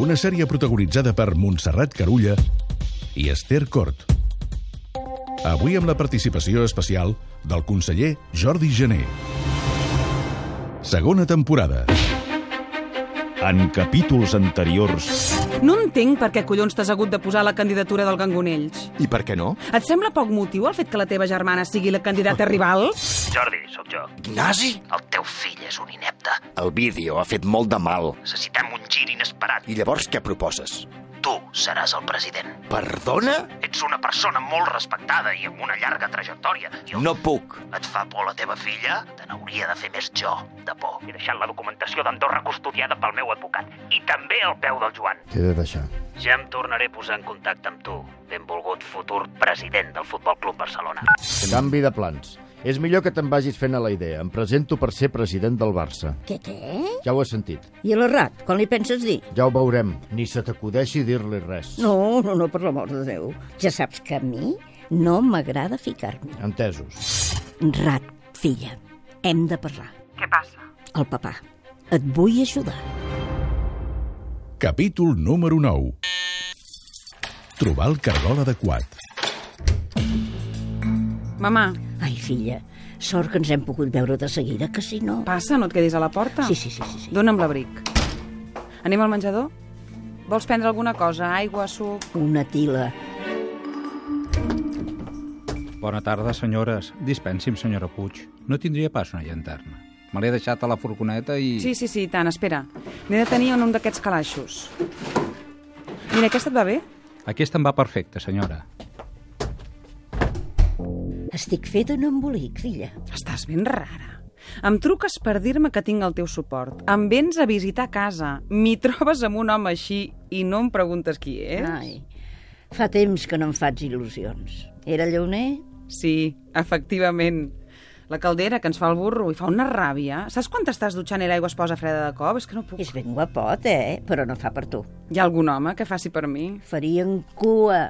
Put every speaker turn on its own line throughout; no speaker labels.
Una sèrie protagonitzada per Montserrat Carulla i Esther Cort. Avui amb la participació especial del conseller Jordi Gené. Segona temporada.
En capítols anteriors...
No entenc per què collons t'has hagut de posar la candidatura del Gangonells.
I per què no?
Et sembla poc motiu el fet que la teva germana sigui la candidata rival?
Jordi, sóc jo.
Ignasi?
El teu fill és un inepte.
El vídeo ha fet molt de mal.
Necessitem un gir inesperat.
I llavors què proposes?
Tu seràs el president.
Perdona?
Ets una persona molt respectada i amb una llarga trajectòria. I
No puc.
Et fa por la teva filla? Te n'hauria de fer més jo, de por. He deixat la documentació d'Andorra custodiada pel meu advocat. I també el peu del Joan.
Què he de deixar?
Ja em tornaré a posar en contacte amb tu, benvolgut futur president del Futbol Club Barcelona.
Canvi de plans. És millor que te'n vagis fent a la idea. Em presento per ser president del Barça.
Què, què?
Ja ho has sentit.
I l'errat, quan li penses dir?
Ja ho veurem. Ni se t'acudeixi dir-li res.
No, no, no, per l'amor de Déu. Ja saps que a mi no m'agrada ficar-m'hi.
Entesos.
Rat, filla, hem de parlar.
Què passa?
El papà, et vull ajudar.
Capítol número 9. Trobar el cargol adequat.
Mamà,
Ai, filla, sort que ens hem pogut veure de seguida, que si no...
passa, no et quedis a la porta.
Sí, sí, sí, sí. sí.
Dóna'm l'abric. Anem al menjador? Vols prendre alguna cosa? Aigua, suc...
Una tila.
Bona tarda, senyores. Dispensi'm, senyora Puig. No tindria pas una llanterna. Me l'he deixat a la furgoneta i...
Sí, sí, sí, i tant, espera. N'he de tenir en un d'aquests calaixos. Mira, aquesta et va bé?
Aquesta em va perfecta, senyora.
Estic feta un embolic, filla.
Estàs ben rara. Em truques per dir-me que tinc el teu suport. Em vens a visitar casa. M'hi trobes amb un home així i no em preguntes qui és?
Ai, fa temps que no em faig il·lusions. Era lleoner?
Sí, efectivament. La caldera que ens fa el burro i fa una ràbia. Saps quan t'estàs dutxant i l'aigua es posa freda de cop? És que no puc.
És ben guapot, eh? Però no fa per tu.
Hi ha algun home que faci per mi?
Farien cua.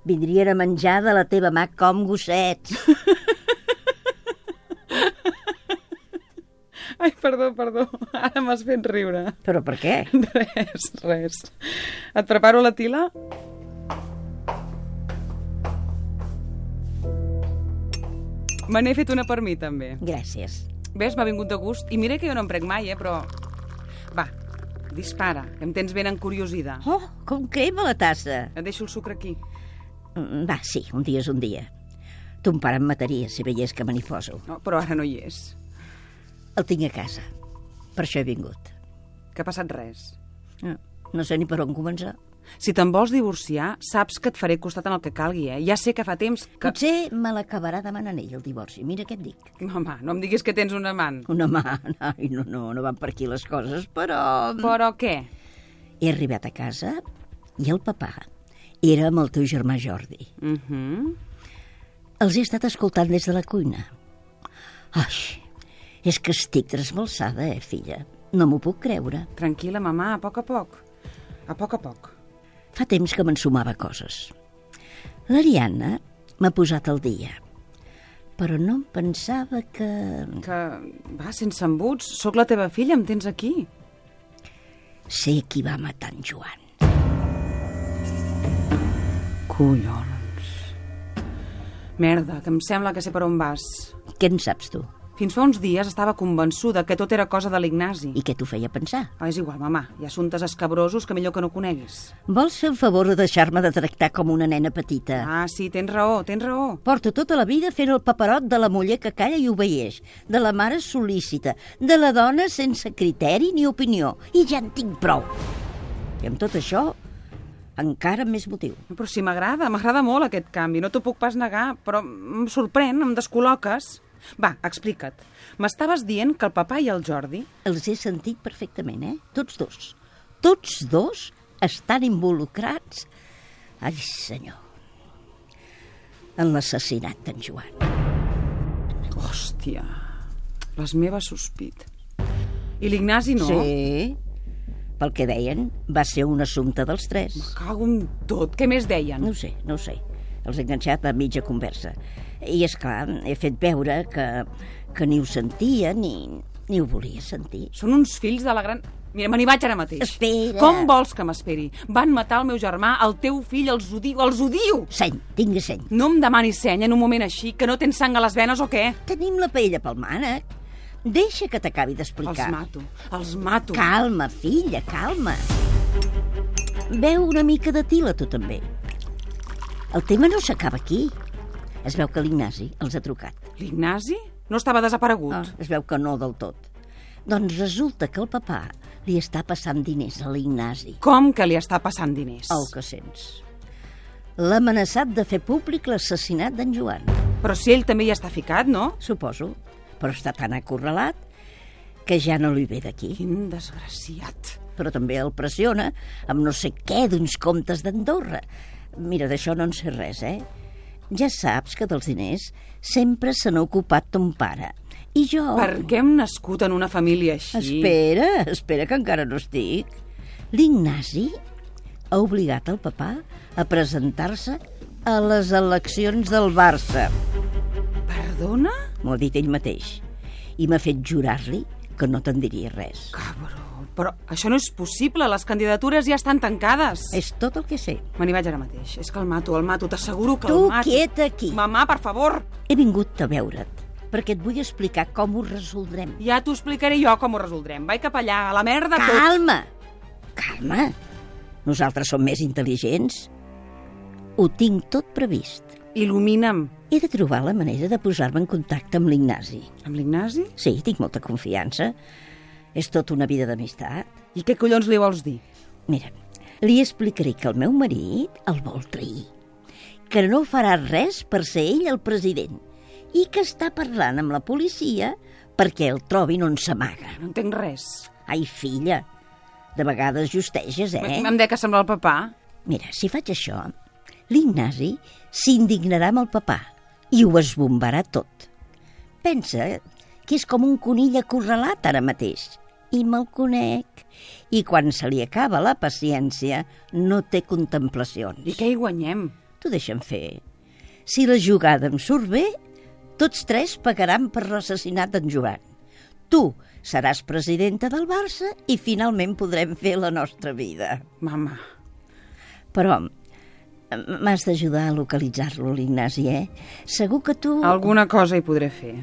Vindrien a menjar de la teva mà com gossets.
Ai, perdó, perdó. Ara m'has fet riure.
Però per què?
Res, res. Et preparo la tila? Me n'he fet una per mi, també.
Gràcies.
Ves, m'ha vingut de gust. I mira que jo no em prenc mai, eh, però... Va, dispara, que em tens ben encuriosida.
Oh, com crema la tassa.
Et deixo el sucre aquí.
Mm, Va, sí, un dia és un dia. Ton pare em mataria si veiés que me n'hi poso.
No, però ara no hi és.
El tinc a casa. Per això he vingut.
Que ha passat res.
Mm, No sé ni per on començar.
Si te'n vols divorciar, saps que et faré costat en el que calgui, eh? Ja sé que fa temps que...
Potser me l'acabarà demanant ell, el divorci. Mira què et dic.
Home, no em diguis que tens un amant.
Una mà... Ai, no, no, no van per aquí les coses, però...
Però què?
He arribat a casa i el papà era amb el teu germà Jordi.
Mhm. Mm
Els he estat escoltant des de la cuina. Ai, és que estic trasbalsada, eh, filla? No m'ho puc creure.
Tranquil·la, mamà, a poc a poc. A poc a poc.
Fa temps que m'ensumava coses. L'Ariadna m'ha posat al dia, però no em pensava que...
Que, va, sense embuts, sóc la teva filla, em tens aquí.
Sé qui va matar en Joan.
Collons. Merda, que em sembla que sé per on vas.
Què en saps tu?
Fins fa uns dies estava convençuda que tot era cosa de l'Ignasi.
I què t'ho feia pensar?
Ah, és igual, mamà. Hi ha assumptes escabrosos que millor que no coneguis.
Vols fer el favor de deixar-me de tractar com una nena petita?
Ah, sí, tens raó, tens raó.
Porto tota la vida fent el paperot de la muller que calla i obeieix, de la mare sol·lícita, de la dona sense criteri ni opinió. I ja en tinc prou. I amb tot això, encara amb més motiu.
Però sí, m'agrada, m'agrada molt aquest canvi, no t'ho puc pas negar, però em sorprèn, em descol·loques. Va, explica't. M'estaves dient que el papà i el Jordi
Els he sentit perfectament, eh? Tots dos. Tots dos estan involucrats, ai senyor, en l'assassinat d'en Joan.
Hòstia, les meves sospit. I l'Ignasi no?
Sí, pel que deien, va ser un assumpte dels tres.
Cago en tot. Què més deien?
No ho sé, no ho sé. Els he enganxat a mitja conversa. I, és clar, he fet veure que, que ni ho sentia ni, ni ho volia sentir.
Són uns fills de la gran... Mira, me n'hi vaig ara mateix.
Espera.
Com vols que m'esperi? Van matar el meu germà, el teu fill, els odio, els odio!
Seny, tingui seny.
No em demanis seny en un moment així, que no tens sang a les venes o què?
Tenim la paella pel mànec. Deixa que t'acabi d'explicar.
Els mato, els mato.
Calma, filla, calma. Veu una mica de tila, tu també. El tema no s'acaba aquí. Es veu que l'Ignasi els ha trucat.
L'Ignasi no estava desaparegut.
Ah, es veu que no del tot. Doncs resulta que el papà li està passant diners a l'Ignasi.
Com que li està passant diners?
El que sents. L'ha amenaçat de fer públic l'assassinat d'en Joan,
Però si ell també hi està ficat, no?
suposo. Però està tan acorralat que ja no li ve d'aquí.
Quin desgraciat.
Però també el pressiona amb no sé què d'uns comptes d'Andorra. Mira, d'això no en sé res, eh? Ja saps que dels diners sempre se n'ha ocupat ton pare. I jo...
Per què hem nascut en una família així?
Ah. Espera, espera, que encara no estic. L'Ignasi ha obligat el papà a presentar-se a les eleccions del Barça.
Perdona?
M'ho ha dit ell mateix. I m'ha fet jurar-li que no te'n diria res.
Cabró. Però això no és possible, les candidatures ja estan tancades.
És tot el que sé.
Me n'hi vaig ara mateix. És que el mato, el mato, t'asseguro que
Tu
el mato.
quieta aquí.
Mamà, per favor.
He vingut a veure't perquè et vull explicar com ho resoldrem.
Ja t'ho explicaré jo com ho resoldrem. Vaig cap allà, a la merda tot.
Calma! Calma! Nosaltres som més intel·ligents. Ho tinc tot previst.
Il·lumina'm.
He de trobar la manera de posar-me en contacte amb l'Ignasi.
Amb l'Ignasi?
Sí, tinc molta confiança. És tot una vida d'amistat.
I què collons li vols dir?
Mira, li explicaré que el meu marit el vol trair, que no farà res per ser ell el president i que està parlant amb la policia perquè el trobin on s'amaga.
No entenc res.
Ai, filla, de vegades justeges, eh?
Eh? Em dec que sembla el papà.
Mira, si faig això, l'Ignasi s'indignarà amb el papà i ho esbombarà tot. Pensa que és com un conill acorralat ara mateix. I me'l conec. I quan se li acaba la paciència, no té contemplacions.
I què hi guanyem?
T'ho deixen fer. Si la jugada em surt bé, tots tres pagaran per l'assassinat d'en Joan. Tu seràs presidenta del Barça i finalment podrem fer la nostra vida.
Mamà.
Però m- m'has d'ajudar a localitzar-lo, l'Ignasi, eh? Segur que tu...
Alguna cosa hi podré fer.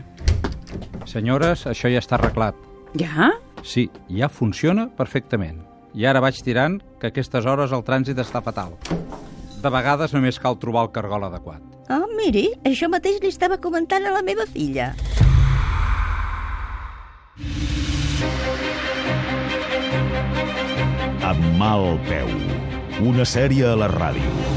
Senyores, això ja està arreglat.
Ja?
Sí, ja funciona perfectament. I ara vaig tirant que a aquestes hores el trànsit està fatal. De vegades només cal trobar el cargol adequat.
Ah, miri, això mateix li estava comentant a la meva filla.
Amb mal peu. Una sèrie a la ràdio.